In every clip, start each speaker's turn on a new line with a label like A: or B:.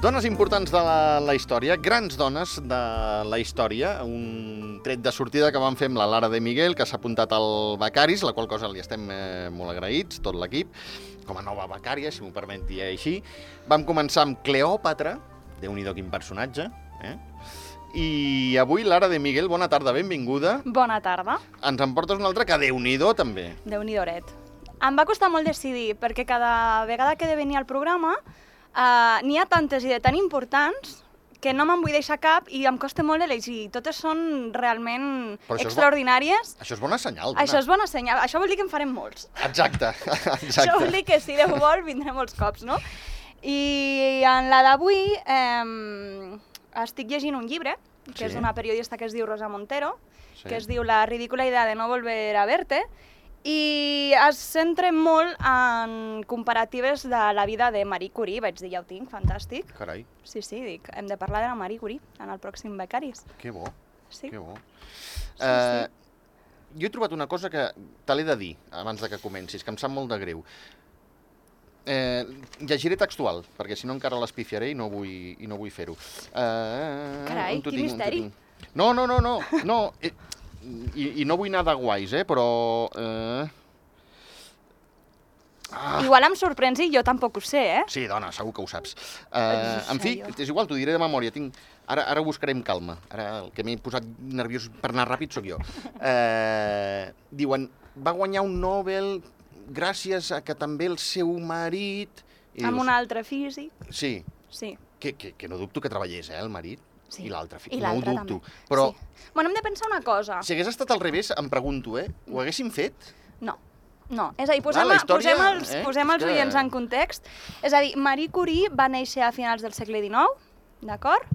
A: Dones importants de la, la història, grans dones de la història, un tret de sortida que vam fer amb la Lara de Miguel, que s'ha apuntat al Becaris, la qual cosa li estem eh, molt agraïts, tot l'equip, com a nova becària, si m'ho permet dir així. Vam començar amb Cleòpatra, déu nhi quin personatge, eh? I avui, Lara de Miguel, bona tarda, benvinguda.
B: Bona tarda.
A: Ens en portes una altra que déu nhi també.
B: déu nhi Em va costar molt decidir, perquè cada vegada que he de venir al programa eh, n'hi ha tantes i de tan importants que no me'n vull deixar cap i em costa molt elegir. Totes són realment
A: Però això és bo-
B: extraordinàries.
A: Això és bona senyal.
B: Això és bona senyal. Això vol dir que en farem molts.
A: Exacte,
B: Això
A: exacte.
B: vol dir que si Déu vol vindré molts cops, no? I en la d'avui eh, estic llegint un llibre, que
A: Sí.
B: és d'una periodista que es diu Rosa Montero,
A: Sí.
B: que es diu La ridícula idea de no volver a verte, i es centra molt en comparatives de la vida de Marie Curie. Vaig dir, ja ho tinc, fantàstic.
A: Carai,
B: Sí, sí, dic, hem de parlar de la Marie Curie en el pròxim Becaris.
A: que bo.
B: Sí.
A: Que bo.
B: Sí,
A: Eh, jo he trobat una cosa que te l'he de dir abans de que comencis, que em sap molt de greu. Eh, llegiré textual, perquè si no encara l'espifiaré i no vull, i no vull fer-ho. Eh,
B: Carai,
A: on t'ho
B: quin
A: tinc, on t'ho
B: misteri.
A: tinc? No, no, no, no. no eh, i, I no vull anar de guais, eh, però... Eh,
B: Igual em sorprens i jo tampoc ho sé, eh?
A: Sí, dona, segur que ho saps.
B: Ai,
A: Uh, en fi,
B: senyor.
A: és igual, t'ho diré de memòria. Tinc... Ara, ara ho buscaré amb calma. Ara el que m'he posat nerviós per anar ràpid sóc jo. Uh, diuen, va guanyar un Nobel gràcies a que també el seu marit... I
B: Amb
A: dius,
B: un altre físic,
A: Sí,
B: sí.
A: que, que, que no dubto que treballés, eh, el marit.
B: Sí.
A: I l'altre, fi- no
B: I
A: ho
B: l'altre
A: dubto.
B: també.
A: Però
B: Sí. Bueno, hem de pensar una cosa.
A: si hagués estat al revés, em pregunto, eh, ho haguéssim fet?
B: No, no. És a dir, posem,
A: la
B: a-
A: història,
B: posem els,
A: eh?
B: posem els
A: És que-
B: oients en context. És a dir, Marie Curie va néixer a finals del segle XIX, d'acord?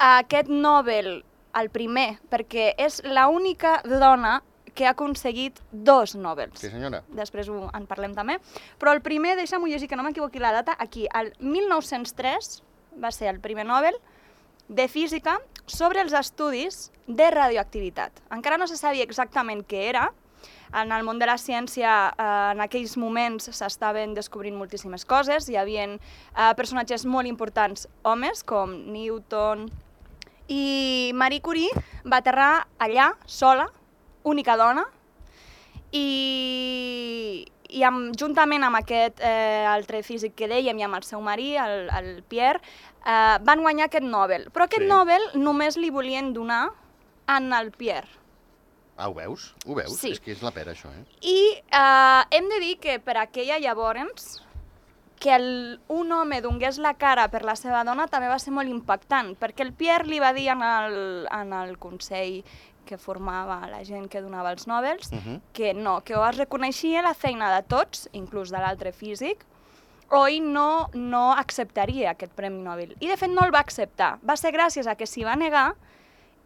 B: Aquest Nobel, el primer, perquè és l'única dona que ha aconseguit dos Nobels.
A: Sí, senyora.
B: Després ho, en parlem també. Però el primer, deixa'm-ho llegir, que no m'equivoqui la data, aquí, el 1903 va ser el primer Nobel de Física sobre els estudis de radioactivitat. Encara no se sabia exactament què era, en el món de la ciència eh, en aquells moments s'estaven descobrint moltíssimes coses, hi havia eh, personatges molt importants homes com Newton i Marie Curie va aterrar allà, sola, única dona, i, i amb, juntament amb aquest eh, altre físic que dèiem i amb el seu marí, el, el Pierre, eh, van guanyar aquest Nobel. Però aquest
A: Sí.
B: sí. Nobel només li volien donar en el Pierre.
A: Ah, ho veus? Ho veus?
B: Sí.
A: És que és la pera, això, eh?
B: I eh, hem de dir que per aquella llavors, que el, un home donés la cara per la seva dona també va ser molt impactant, perquè el Pierre li va dir en el, en el Consell que formava la gent que donava els Nobels,
A: Mhm.
B: que no, que o es reconeixia la feina de tots, inclús de l'altre físic, o ell no, no acceptaria aquest Premi Nobel. I de fet no el va acceptar. Va ser gràcies a que s'hi va negar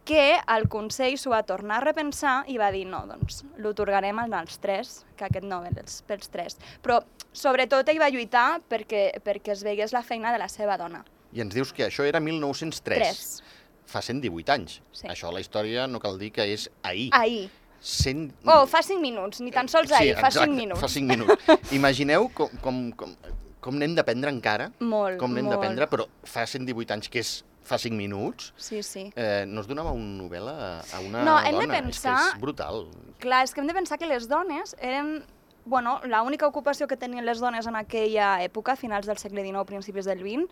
B: que el Consell s'ho va tornar a repensar i va dir no, doncs l'otorgarem als tres, que aquest Nobel és pels tres. Però sobretot ell va lluitar perquè, perquè es veigués la feina de la seva dona.
A: I ens dius que això era 1903.
B: Tres.
A: fa 118 anys.
B: Sí.
A: Això a la història no cal dir que és ahir.
B: Ahir.
A: 100...
B: Oh, fa cinc minuts, ni tan sols ahir, fa cinc minuts.
A: Fa 5 minuts. Imagineu com, com, com, com n'hem d'aprendre encara,
B: Molt,
A: com n'hem
B: molt.
A: d'aprendre, però fa 118 anys, que és fa 5 minuts,
B: Sí, sí.
A: eh, no es donava una novel·la a una
B: No, hem
A: dona.
B: de
A: És
B: pensar-
A: que és brutal.
B: Clar, és que hem de pensar que les dones eren... Bueno, l'única ocupació que tenien les dones en aquella època, finals del segle XIX, principis del XX,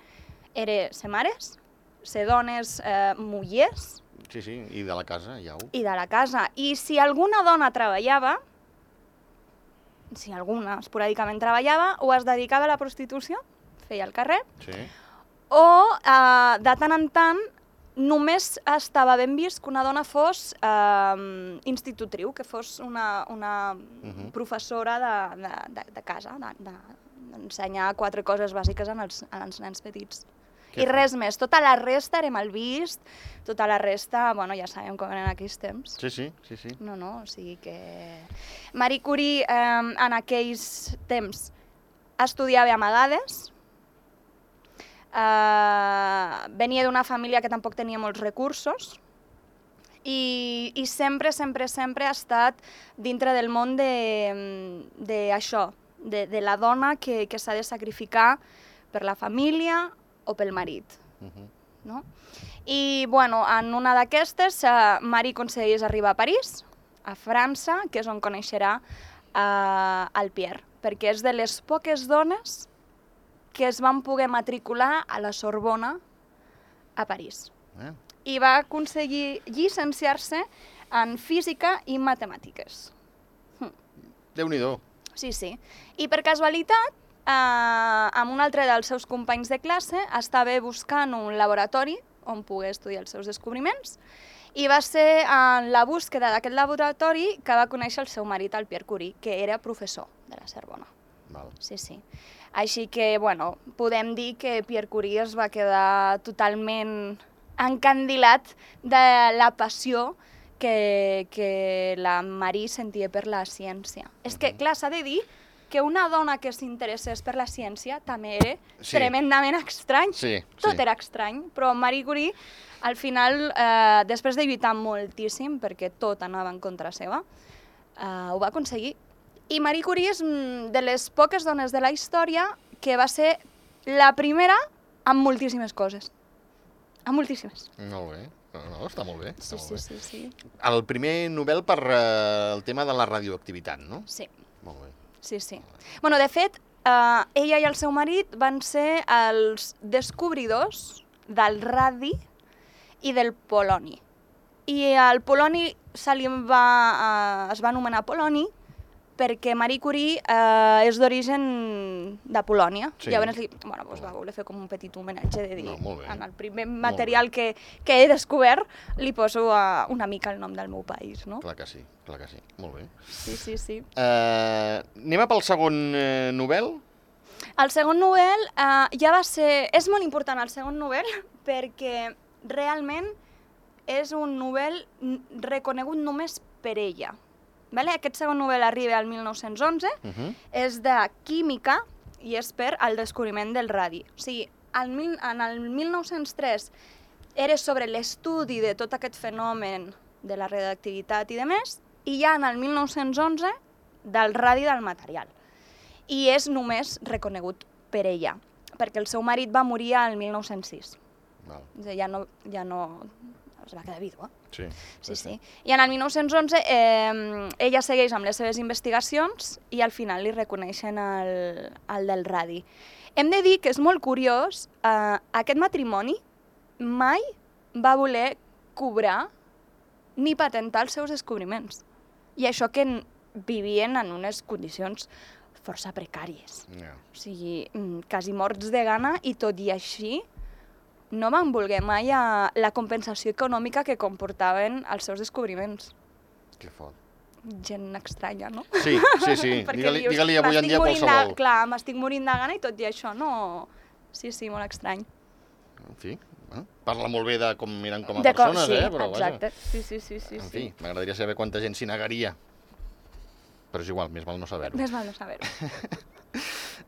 B: era ser mares, ser dones eh, mullers
A: Sí, sí, i de la casa, ja ho...
B: i de la casa. I si alguna dona treballava, si alguna esporàdicament treballava, o es dedicava a la prostitució, feia el carrer,
A: Sí.
B: o eh, de tant en tant només estava ben vist que una dona fos eh, institutriu, que fos una, una
A: Mhm.
B: professora de, de, de, de casa, de- de- d'ensenyar de, quatre coses bàsiques en els, en els nens petits.
A: Que
B: I
A: fort.
B: res més, tota la resta era mal vist, tota la resta, bueno, ja sabem com eren aquells temps.
A: Sí, sí, sí, sí.
B: No, no, o sigui que... Marie Curie eh, en aquells temps estudiava amagades, eh, venia d'una família que tampoc tenia molts recursos i, i sempre, sempre, sempre ha estat dintre del món de, de això, de, de la dona que, que s'ha de sacrificar per la família o pel marit.
A: Uh -huh.
B: no? I, bueno, en una d'aquestes, eh, Marie aconsegueix arribar a París, a França, que és on coneixerà eh, el Pierre, perquè és de les poques dones que es van poder matricular a la Sorbona a París.
A: eh?
B: I va aconseguir llicenciar-se en física i matemàtiques.
A: Déu-n'hi-do.
B: Sí, sí. I per casualitat, eh, amb un altre dels seus companys de classe, estava buscant un laboratori on pogués estudiar els seus descobriments i va ser en la búsqueda d'aquest laboratori que va conèixer el seu marit, el Pierre Curie, que era professor de la Sorbona.
A: Val.
B: Sí, sí. Així que, bueno, podem dir que Pierre Curie es va quedar totalment encandilat de la passió que, que la Marie sentia per la ciència. És que,
A: Mhm.
B: clar, s'ha de dir que una dona que s'interessés per la ciència també era
A: Sí.
B: sí. tremendament estrany.
A: Sí,
B: Tot
A: sí.
B: era estrany, però Marie Curie, al final, eh, després de lluitar moltíssim, perquè tot anava en contra seva, eh, ho va aconseguir. I Marie Curie és mm, de les poques dones de la història que va ser la primera amb moltíssimes coses. Amb moltíssimes.
A: Molt bé. No, no, està molt bé. Està
B: Sí,
A: molt
B: sí,
A: bé.
B: sí, sí.
A: El primer Nobel per eh, el tema de la radioactivitat, no?
B: Sí,
A: Molt bé.
B: sí, sí. Bueno, de fet, eh, ella i el seu marit van ser els descobridors del radi i del poloni. I al poloni se li va, eh, es va anomenar poloni perquè Marie Curie eh, és d'origen de Polònia.
A: Sí.
B: Sí. Llavors li, bueno, doncs va voler fer com un petit homenatge de dir
A: No, molt bé.
B: en el primer material que, que he descobert li poso eh, una mica el nom del meu país, no?
A: Clar que sí, clar que sí. Molt bé.
B: Sí, sí, sí.
A: Eh, anem a pel segon eh, Nobel?
B: El segon novel eh, ja va ser... És molt important el segon novel perquè realment és un novel n- reconegut només per ella. Vale? Aquest segon novel arriba al 1911,
A: Uh -huh.
B: és de química i és per al descobriment del radi. O sigui, el mil, en el 1903 era sobre l'estudi de tot aquest fenomen de la radioactivitat i de més, i ja en el 1911 del radi del material. I és només reconegut per ella, perquè el seu marit va morir al 1906.
A: Val.
B: És a dir, Ja no, ja no es va quedar eh? vídua.
A: Sí.
B: Sí, sí. I en el 1911 eh, ella segueix amb les seves investigacions i al final li reconeixen el, el del radi. Hem de dir que és molt curiós, eh, aquest matrimoni mai va voler cobrar ni patentar els seus descobriments. I això que en- vivien en unes condicions força precàries.
A: Ja.
B: O sigui, mm, quasi morts de gana i tot i així no van voler mai a la compensació econòmica que comportaven els seus descobriments.
A: Que fort.
B: Gent estranya, no?
A: Sí, sí, sí.
B: Perquè
A: digue-li
B: dius,
A: digue avui en
B: "M'estic
A: dia
B: morint de-
A: qualsevol.
B: Clar, m'estic morint de gana i tot i això no... Sí, sí, molt estrany.
A: En fi, bueno, parla molt bé de com miren com a
B: D'acord,
A: persones,
B: sí,
A: eh? Però,
B: exacte. Sí, sí, sí, sí.
A: Vaja, en
B: sí.
A: fi, m'agradaria saber quanta gent s'hi negaria. Però és igual, més val no saber-ho.
B: Més val no saber-ho.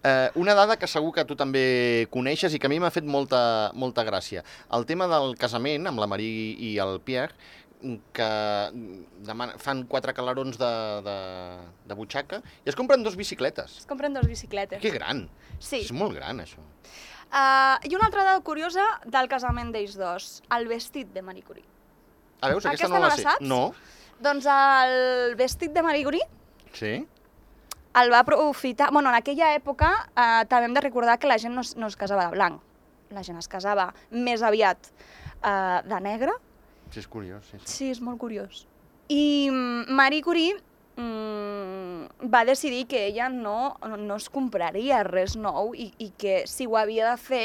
A: Eh, una dada que segur que tu també coneixes i que a mi m'ha fet molta, molta gràcia. El tema del casament amb la Marie i el Pierre, que demana, fan quatre calarons de, de, de butxaca i es compren dos bicicletes.
B: Es compren dos bicicletes.
A: Que gran!
B: Sí.
A: És molt gran, això.
B: Uh, I una altra dada curiosa del casament d'ells dos, el vestit de Marie Curie.
A: A veure, aquesta,
B: Aquesta
A: no
B: no
A: la,
B: la
A: sé.
B: saps?
A: No.
B: Doncs el vestit de Marie Curie
A: Sí?
B: el va aprofitar... Bueno, en aquella època eh, també hem de recordar que la gent no, es- no es casava de blanc. La gent es casava més aviat eh, de negre.
A: Sí, és curiós. Sí, sí.
B: Sí, és molt curiós. I mm, Marie Curie mm, va decidir que ella no, no es compraria res nou i, i que si ho havia de fer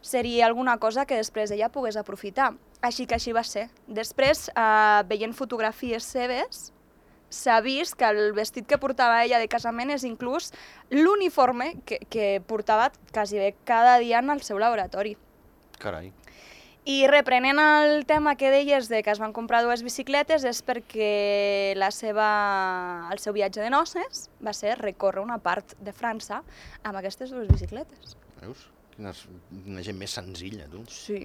B: seria alguna cosa que després ella pogués aprofitar. Així que així va ser. Després, eh, veient fotografies seves, s'ha vist que el vestit que portava ella de casament és inclús l'uniforme que, que portava quasi bé cada dia en el seu laboratori.
A: Carai.
B: I reprenent el tema que deies de que es van comprar dues bicicletes és perquè la seva, el seu viatge de noces va ser recórrer una part de França amb aquestes dues bicicletes.
A: Veus? Quina, és- quina gent més senzilla, tu.
B: Sí.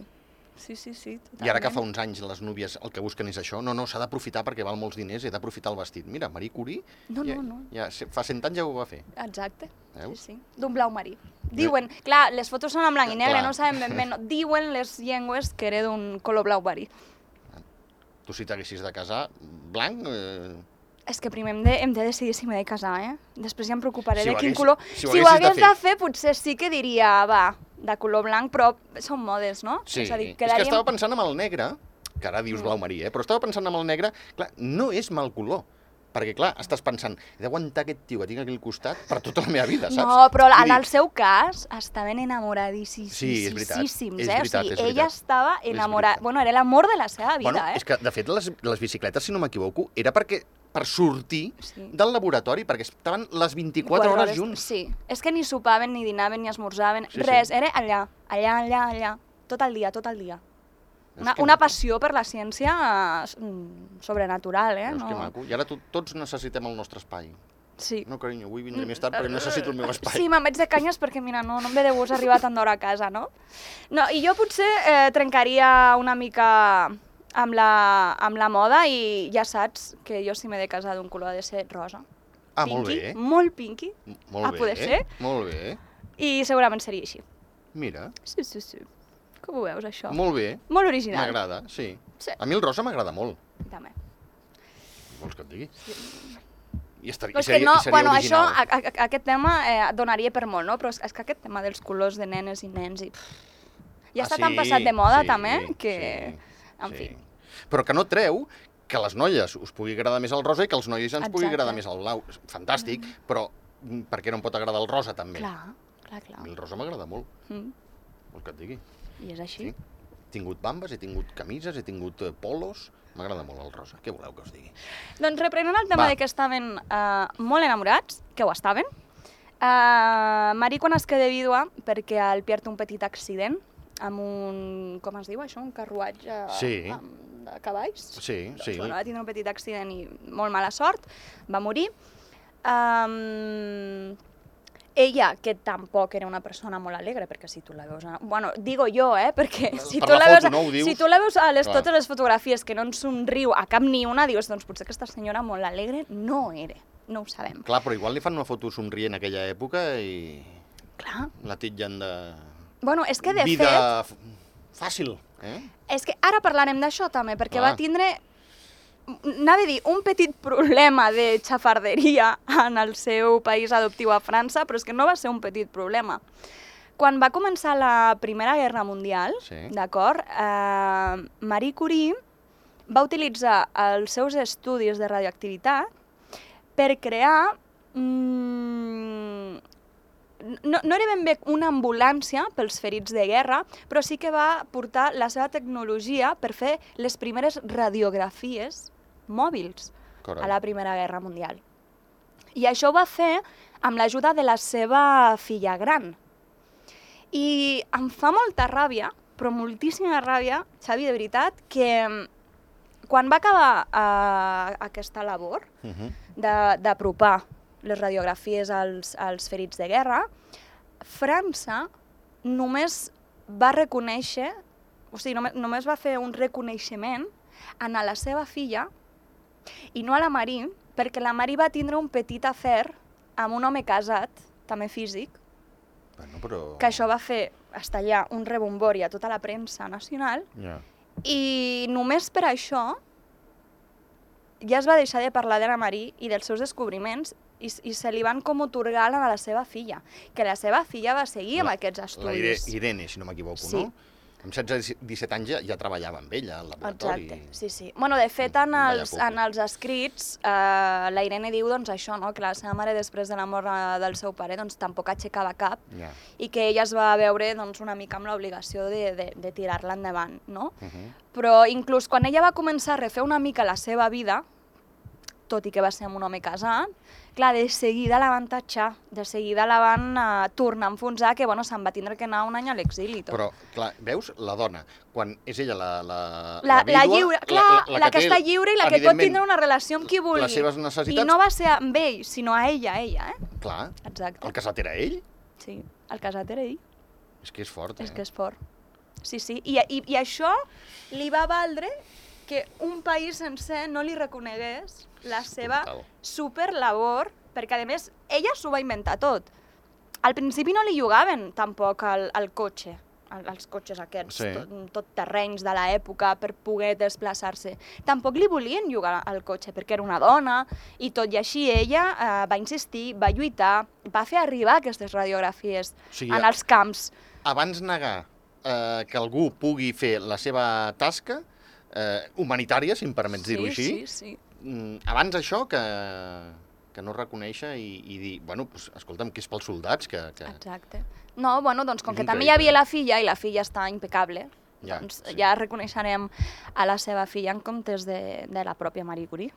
B: Sí, sí, sí.
A: I ara que fa
B: totalment.
A: uns anys les núvies el que busquen és això, no, no, s'ha d'aprofitar perquè val molts diners, he d'aprofitar el vestit. Mira, Marie Curie,
B: No,
A: ja,
B: no, no.
A: ja, se- fa cent anys ja ho va fer.
B: Exacte.
A: Veus?
B: Sí, sí. D'un blau marí. Diuen, clar, les fotos són en blanc i negre,
A: Clar.
B: no sabem ben bé, no. diuen les llengües que era d'un color blau marí.
A: Tu si t'haguessis de casar, blanc, eh,
B: És que primer hem de, hem de decidir si m'he de casar, eh? Després ja em preocuparé
A: Si
B: de
A: ho
B: quin
A: hagués-
B: color...
A: si ho
B: si ho
A: haguessis de
B: hagués de fer. potser sí que diria, va, de color blanc, però són modes, no?
A: sí.
B: És a dir,
A: És que
B: quedaríem...
A: estava pensant en el negre, que ara dius
B: Mm.
A: blau marí, eh? però estava pensant en el negre, clar, no és mal color. Perquè, clar, estàs pensant, he d'aguantar aquest tio que tinc aquí al costat per tota la meva vida, saps?
B: No, però
A: Vull
B: en
A: dir,
B: el seu cas estaven enamoradíssims,
A: Sí, és veritat,
B: eh?
A: és
B: o
A: veritat,
B: sigui,
A: és veritat.
B: ella estava enamorada...
A: veritat.
B: Bueno, era l'amor de la seva vida,
A: Bueno,
B: eh?
A: és que, de fet, les, les bicicletes, si no m'equivoco, era perquè per sortir
B: Sí.
A: del laboratori, perquè estaven les 24 hores junts.
B: Sí, és que ni sopaven, ni dinaven, ni esmorzaven,
A: Sí,
B: sí,
A: sí.
B: res, era allà, allà, allà, allà, tot el dia, tot el dia.
A: Veus
B: Una,
A: que
B: una
A: maco?
B: passió per la ciència eh, mm, sobrenatural, eh?
A: Veus que maco? I ara to- tots necessitem el nostre espai.
B: Sí. Mm. Eh,
A: No, carinyo, avui vindré més tard perquè necessito el meu espai.
B: Sí, me'n vaig de canyes perquè, mira, no, no em ve de gust arribar tan d'hora a casa, no? No, i jo potser eh, trencaria una mica amb la, amb la moda i ja saps que jo si m'he de casar d'un color ha de ser rosa.
A: ah, molt bé.
B: Pinky, Molt pinky.
A: M- Molt
B: a
A: bé.
B: ah, poder ser.
A: Molt bé.
B: I segurament seria així.
A: Mira,
B: Sí, sí, sí. Com ho veus, això?
A: molt bé.
B: Molt original.
A: M'agrada, sí.
B: Sí.
A: A mi el rosa m'agrada molt.
B: També.
A: Vols que et digui? I, estar,
B: Però
A: i
B: és que
A: seria,
B: no,
A: i seria
B: bueno, això,
A: original.
B: a, a, a- aquest tema eh, donaria per molt, no? Però és, és que aquest tema dels colors de nenes i nens i... Pff, ja
A: Ah,
B: està
A: sí,
B: tan passat de moda,
A: sí,
B: també, que...
A: Sí,
B: en fi.
A: Però que no treu que a les noies us pugui agradar més el rosa i que als nois ens Exacte. pugui
B: Exacte.
A: agradar més el blau. És Fantàstic, però mm, per què no em pot agradar el rosa, també?
B: Clar, clar,
A: A
B: clar.
A: mi el rosa m'agrada molt,
B: Mm.
A: vols que et digui?
B: I és així.
A: Sí. He tingut bambes, he tingut camises, he tingut eh, polos... M'agrada molt el rosa, què voleu que us digui?
B: Doncs reprenent el tema
A: Va.
B: de que estaven eh, molt enamorats, que ho estaven, eh, Marie quan es queda vídua perquè el Pierre té un petit accident amb un, com es diu això, un carruatge
A: Sí.
B: amb, de cavalls.
A: Sí,
B: doncs,
A: sí.
B: Bueno, va tindre un petit accident i molt mala sort, va morir. Um, ella, que tampoc era una persona molt alegre, perquè si tu la veus... A... Bueno, digo jo, eh? Perquè si,
A: Per
B: tu
A: la
B: la,
A: foto,
B: veus, a-
A: no ho dius.
B: si tu la veus a les,
A: Clar.
B: totes les fotografies que no en somriu a cap ni una, dius, doncs potser aquesta senyora molt alegre no era. No ho sabem.
A: Clar, però igual li fan una foto somrient en aquella època i
B: Clar.
A: la titllen de...
B: Bueno, és que de
A: Vida
B: fet...
A: f- fàcil, eh?
B: És que ara parlarem d'això també, perquè
A: Clar.
B: va tindre anava a dir, un petit problema de xafarderia en el seu país adoptiu a França, però és que no va ser un petit problema. Quan va començar la Primera Guerra Mundial,
A: Sí.
B: d'acord, eh, Marie Curie va utilitzar els seus estudis de radioactivitat per crear... Mm, no, no era ben bé una ambulància pels ferits de guerra, però sí que va portar la seva tecnologia per fer les primeres radiografies mòbils
A: Carai.
B: a la Primera Guerra Mundial. I això ho va fer amb l'ajuda de la seva filla gran. I em fa molta ràbia, però moltíssima ràbia, Xavi, de veritat, que mm, quan va acabar eh, aquesta labor,
A: Uh -huh.
B: de- d'apropar les radiografies als, als ferits de guerra, França només va reconèixer, o sigui, només, només va fer un reconeixement en a la seva filla i no a la Marí, perquè la Marí va tindre un petit afer amb un home casat, també físic,
A: Bueno, però...
B: que això va fer estallar un rebombori a tota la premsa nacional
A: Ja.
B: i només per això ja es va deixar de parlar d'Anna Marí i dels seus descobriments i, s- i se li van com otorgar a la seva filla, que la seva filla va seguir amb
A: La-
B: aquests
A: La Ire-
B: estudis.
A: Irene, si no m'equivoco,
B: Sí.
A: no? Amb 16-17 anys ja, ja treballava amb ella al laboratori.
B: Exacte, sí, sí. Bueno, de fet, en
A: Vaya
B: els,
A: coco.
B: en els escrits, eh, la Irene diu doncs, això, no? que la seva mare, després de la mort eh, del seu pare, doncs, tampoc aixecava cap
A: Ja.
B: i que ella es va veure doncs, una mica amb l'obligació de, de, de tirar-la endavant. No?
A: Uh -huh.
B: Però inclús quan ella va començar a refer una mica la seva vida, tot i que va ser amb un home casat, clar, de seguida la van tatxar, de seguida la van eh, tornar a enfonsar, que bueno, se'n va tindre que anar un any a l'exili i tot.
A: Però, clar, veus, la dona, quan és ella la... La,
B: la, la,
A: vídua,
B: lliure, clar, la, que,
A: té,
B: està lliure i la que pot
A: evidentment,
B: tindre una relació amb qui vulgui.
A: les seves necessitats.
B: I no va ser amb ell, sinó a ella, a ella, eh?
A: Clar,
B: Exacte.
A: el casat era ell,
B: Sí, el casat era ell.
A: és que és fort, eh?
B: És que és fort. Sí, sí, I, i, i això li va valdre que un país sencer no li reconegués la seva
A: brutal.
B: superlabor, perquè a més ella s'ho va inventar tot. Al principi no li llogaven tampoc al, al cotxe, al, als cotxes aquests,
A: Sí.
B: tot, tot terrenys de l'època per poder desplaçar-se. Tampoc li volien llogar al cotxe perquè era una dona i tot i així ella eh, va insistir, va lluitar, va fer arribar aquestes radiografies
A: O sigui,
B: en els camps.
A: abans negar eh, que algú pugui fer la seva tasca eh, humanitària, si em permets dir-ho així,
B: Sí, sí.
A: mm, abans això que, que no reconèixer i, i dir, bueno, pues, escolta'm, que és pels soldats, que... que...
B: Exacte. No, bueno, doncs com
A: És
B: que també hi havia
A: increïble.
B: la filla i la filla està impecable,
A: Ja,
B: ja, doncs
A: sí.
B: ja reconeixerem a la seva filla en comptes de, de la pròpia Marie Curie.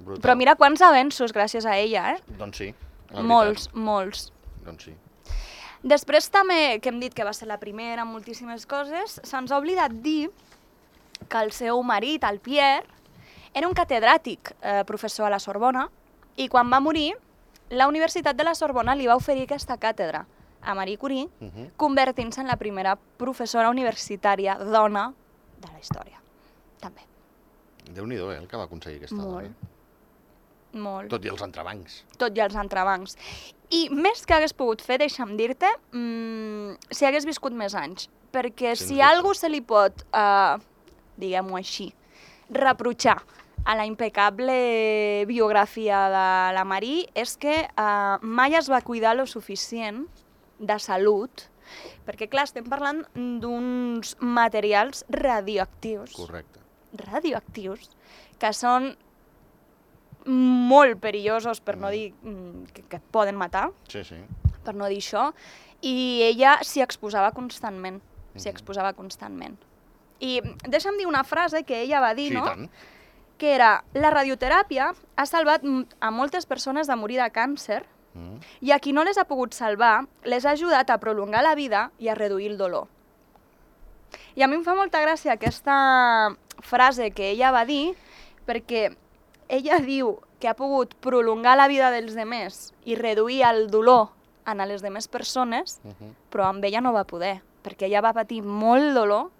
A: Brutal.
B: Però mira quants avenços gràcies a ella, eh?
A: Doncs sí. la veritat.
B: Molts, molts.
A: Doncs sí.
B: Després també, que hem dit que va ser la primera en moltíssimes coses, se'ns ha oblidat dir que el seu marit, el Pierre, era un catedràtic eh, professor a la Sorbona i quan va morir, la Universitat de la Sorbona li va oferir aquesta càtedra a Marie Curie,
A: Uh -huh.
B: convertint-se en la primera professora universitària dona de la història. També.
A: Déu-n'hi-do, eh, el que va aconseguir aquesta
B: Molt.
A: dona.
B: Molt. Tot.
A: Tot i els entrebancs.
B: Tot i els entrebancs. I més que hagués pogut fer, deixa'm dir-te, mmm, si hagués viscut més anys. Perquè
A: Sens
B: si
A: dubte.
B: a algú se li pot, eh, diguem-ho així, reprotxar a la impecable biografia de la Marí és que eh, mai es va cuidar lo suficient de salut, perquè clar, estem parlant d'uns materials radioactius.
A: Correcte.
B: radioactius que són molt perillosos, per no
A: Mm.
B: dir mm, que, que et poden matar,
A: Sí, sí.
B: per no dir això, i ella s'hi exposava constantment, s'hi
A: Mhm.
B: exposava constantment. I deixa'm dir una frase que ella va dir,
A: sí, i
B: no?
A: tant.
B: que era la radioteràpia ha salvat m- a moltes persones de morir de càncer
A: Mm.
B: i a qui no les ha pogut salvar les ha ajudat a prolongar la vida i a reduir el dolor. I a mi em fa molta gràcia aquesta frase que ella va dir perquè ella diu que ha pogut prolongar la vida dels demés i reduir el dolor en les demés persones,
A: Uh -huh.
B: però amb ella no va poder, perquè ella va patir molt dolor,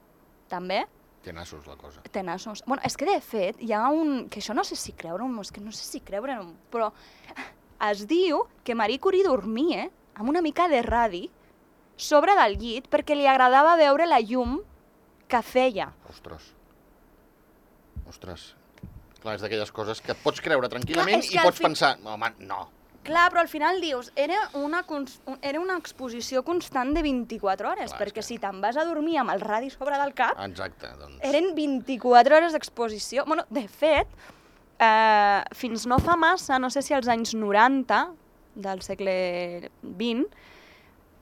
B: també,
A: Té nassos, la cosa.
B: tenaços. Bueno, és que de fet hi ha un... que això no sé si creure és que no sé si creure però es diu que Marie Curie dormia amb una mica de radi sobre del llit perquè li agradava veure la llum que feia.
A: Ostres. Ostres. Clar, és d'aquelles coses que pots creure tranquil·lament
B: és
A: i
B: que al
A: pots
B: fi-
A: pensar, home, no.
B: Clar, però al final dius, era una, cons- un- era una exposició constant de 24
A: Clar,
B: hores,
A: és
B: perquè
A: que-
B: si te'n vas a dormir amb el radi sobre del cap,
A: Exacte, doncs.
B: Eren 24 hores d'exposició. Bueno, de fet, eh, fins no fa massa, no sé si als anys 90 del segle XX,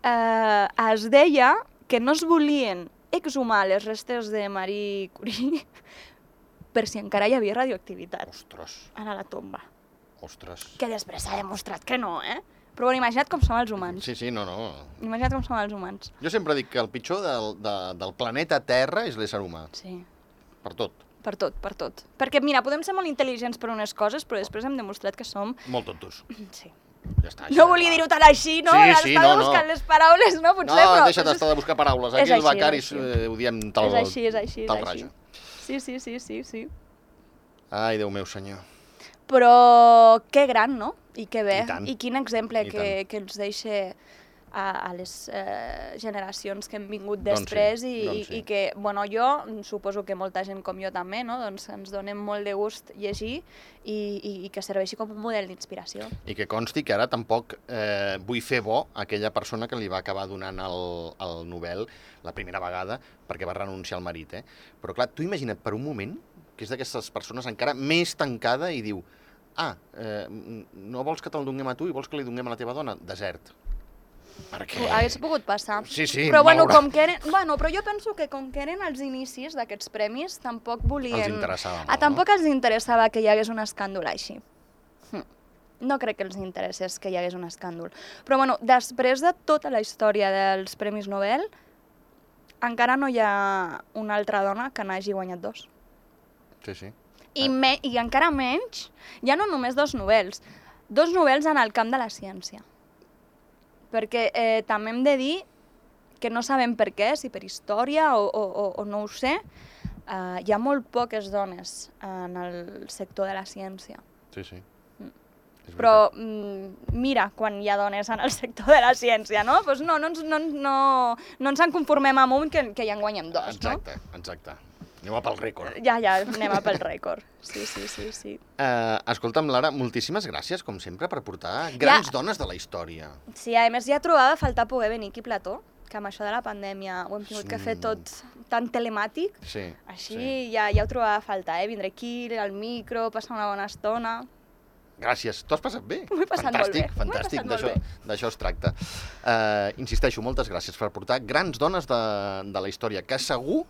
B: eh, es deia que no es volien exhumar les restes de Marie Curie per si encara hi havia radioactivitat
A: Ostres,
B: en la tomba.
A: ostres.
B: Que després s'ha demostrat que no, eh? Però bueno, imagina't com som els humans.
A: Sí, sí, no, no.
B: Imagina't com som els humans.
A: Jo sempre dic que el pitjor del, de, del planeta Terra és l'ésser humà,
B: Sí.
A: per tot.
B: Per tot, per tot. Perquè, mira, podem ser molt intel·ligents per unes coses, però després hem demostrat que som...
A: Molt tontos.
B: Sí.
A: Ja està.
B: No volia dir-ho tan així, no?
A: Sí,
B: Ara
A: sí,
B: estava
A: no, no.
B: buscant les paraules, no?
A: No,
B: Potser, però...
A: deixa't estar de buscar paraules.
B: és
A: Aquí el
B: així, és
A: becari
B: així.
A: eh, ho diem tal,
B: és així, és així,
A: tal
B: és així.
A: raja.
B: Sí, sí, sí, sí, sí.
A: Ai, Déu meu senyor.
B: Però que gran, no? I que bé.
A: I tant.
B: I quin exemple
A: I
B: que, que ens deixa a, a les eh, generacions que han vingut
A: Doncs sí,
B: després i,
A: doncs sí.
B: i, i que, bueno, jo suposo que molta gent com jo també, no? Doncs ens donem molt de gust llegir i, i, i que serveixi com un model d'inspiració.
A: I que consti que ara tampoc eh, vull fer bo aquella persona que li va acabar donant el, el Nobel la primera vegada perquè va renunciar al marit, eh? Però clar, tu imagina't per un moment que és d'aquestes persones encara més tancada i diu ah, eh, m- no vols que te'l donem a tu i vols que li donem a la teva dona? Desert. Perquè...
B: Ho hagués pogut passar.
A: Sí, sí,
B: però, bueno,
A: m'haurà-
B: com que eren, bueno, però jo penso que com que eren els inicis d'aquests premis, tampoc volien...
A: Els interessava molt,
B: ah, tampoc els interessava que hi hagués un escàndol així. Hm. No crec que els interessés que hi hagués un escàndol. Però bueno, després de tota la història dels Premis Nobel, encara no hi ha una altra dona que n'hagi guanyat dos.
A: no? Sí, sí.
B: I,
A: Ah.
B: me, I encara menys, ja no només dos novels, dos novels en el camp de la ciència. Perquè eh, també hem de dir que no sabem per què, si per història o, o, o, o no ho sé, eh, hi ha molt poques dones en el sector de la ciència.
A: Sí, sí.
B: Mm.
A: És
B: Però mm, mira quan hi ha dones en el sector de la ciència, no? Pues no, no, ens, no, ens- no, no ens en conformem amb un que, que ja en guanyem
A: veritat.
B: dos, no?
A: Exacte, exacte. Aneu a pel rècord.
B: Ja, ja, anem a pel rècord. Sí, sí, sí, sí.
A: Eh, escolta'm, Lara, moltíssimes gràcies, com sempre, per portar grans dones de la història.
B: Sí, a més ja trobava a faltar poder venir aquí a Plató, que amb això de la pandèmia ho hem tingut que fer
A: Sí.
B: tot tan telemàtic.
A: Sí.
B: Així
A: Sí.
B: ja, ja ho trobava a faltar, eh? Vindré aquí, al micro, passar una bona estona...
A: Gràcies. T'ho has passat bé?
B: M'ho he passat molt
A: fantàstic,
B: bé, m'ho he
A: Fantàstic,
B: passat
A: d'això
B: molt
A: d'això es tracta. Uh, insisteixo, moltes gràcies per portar grans dones de, de la història, que segur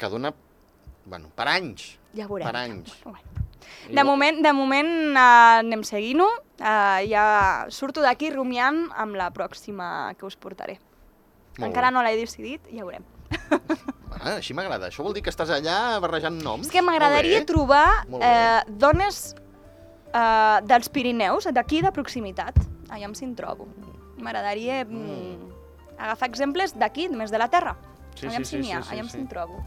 A: que dona, bueno, per anys.
B: Ja veurem.
A: Per anys.
B: Ja, bueno. De moment, de moment uh, anem seguint-ho. Uh, ja surto d'aquí rumiant amb la pròxima que us portaré.
A: Molt
B: Encara
A: bé.
B: no l'he decidit, ja veurem.
A: Ah, així m'agrada. Això vol dir que estàs allà barrejant noms.
B: És que m'agradaria
A: Molt bé.
B: trobar
A: Molt bé.
B: eh, dones eh, dels Pirineus, d'aquí, de proximitat. Aviam si en trobo. M'agradaria mm. agafar exemples d'aquí, més de la Terra.
A: Sí,
B: aviam
A: sí, sí,
B: si n'hi ha,
A: sí, sí,
B: aviam
A: sí.
B: si en trobo.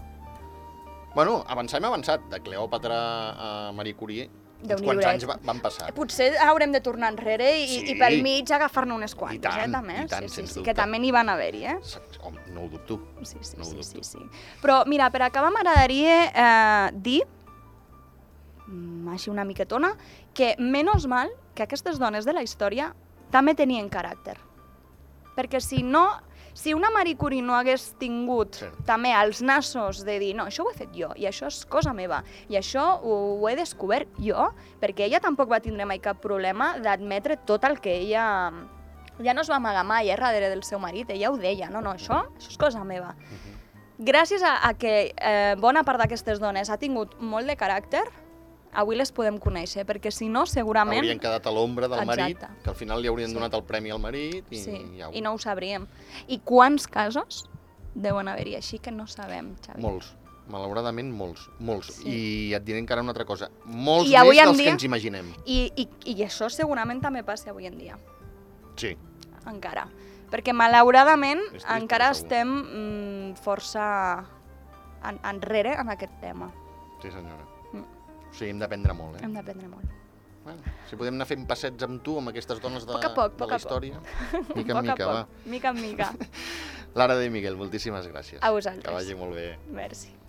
A: Bueno, avançar hem avançat. De Cleòpatra a Marie Curie,
B: Déu
A: uns
B: n'hi
A: quants
B: do, eh?
A: anys va- van passar.
B: Potser haurem de tornar enrere i,
A: Ah. Sí.
B: sí. i pel mig agafar-ne unes quantes,
A: tant,
B: eh, també.
A: i tant,
B: sí, sí,
A: sens
B: sí,
A: dubte.
B: que també n'hi van haver-hi, eh?
A: Home, no ho dubto.
B: Sí, sí,
A: No ho
B: sí,
A: dubto.
B: sí, sí. Però, mira, per acabar m'agradaria eh, dir, mm, així una miquetona, que menys mal que aquestes dones de la història també tenien caràcter. Perquè si no, si una Marie Curie no hagués tingut
A: Cert.
B: també els nassos de dir no, això ho he fet jo, i això és cosa meva, i això ho, ho he descobert jo, perquè ella tampoc va tindre mai cap problema d'admetre tot el que ella... Ja no es va amagar mai, eh, darrere del seu marit, ella ho deia, no, no, això, això és cosa meva. Gràcies a, a que eh, bona part d'aquestes dones ha tingut molt de caràcter, avui les podem conèixer, perquè si no, segurament...
A: Haurien quedat a l'ombra del marit,
B: Exacte.
A: que al final li haurien
B: Sí.
A: donat el premi al marit i,
B: sí,
A: ja
B: i no ho sabríem. I quants casos deuen haver-hi així que no sabem, Xavi.
A: Molts, malauradament molts, molts.
B: Sí.
A: Sí. I et diré encara una altra cosa, molts
B: I avui
A: més
B: en
A: dels
B: dia-
A: que ens imaginem.
B: I, i, I això segurament també passa avui en dia,
A: Sí,
B: encara. Perquè malauradament
A: És trist,
B: encara
A: però segur.
B: estem mm, força en, enrere en aquest tema.
A: sí senyora.
B: Mm.
A: O sigui, hem d'aprendre molt, eh?
B: Hem d'aprendre molt.
A: Bueno, si podem anar fent passets amb tu, amb aquestes dones de,
B: Poc a poc,
A: de
B: poc
A: la
B: a poc.
A: història. Mica
B: Poc
A: en mica,
B: a
A: va.
B: poc, Mica en mica.
A: Lara de Miguel, moltíssimes gràcies.
B: A vosaltres.
A: Que vagi molt bé.
B: Merci.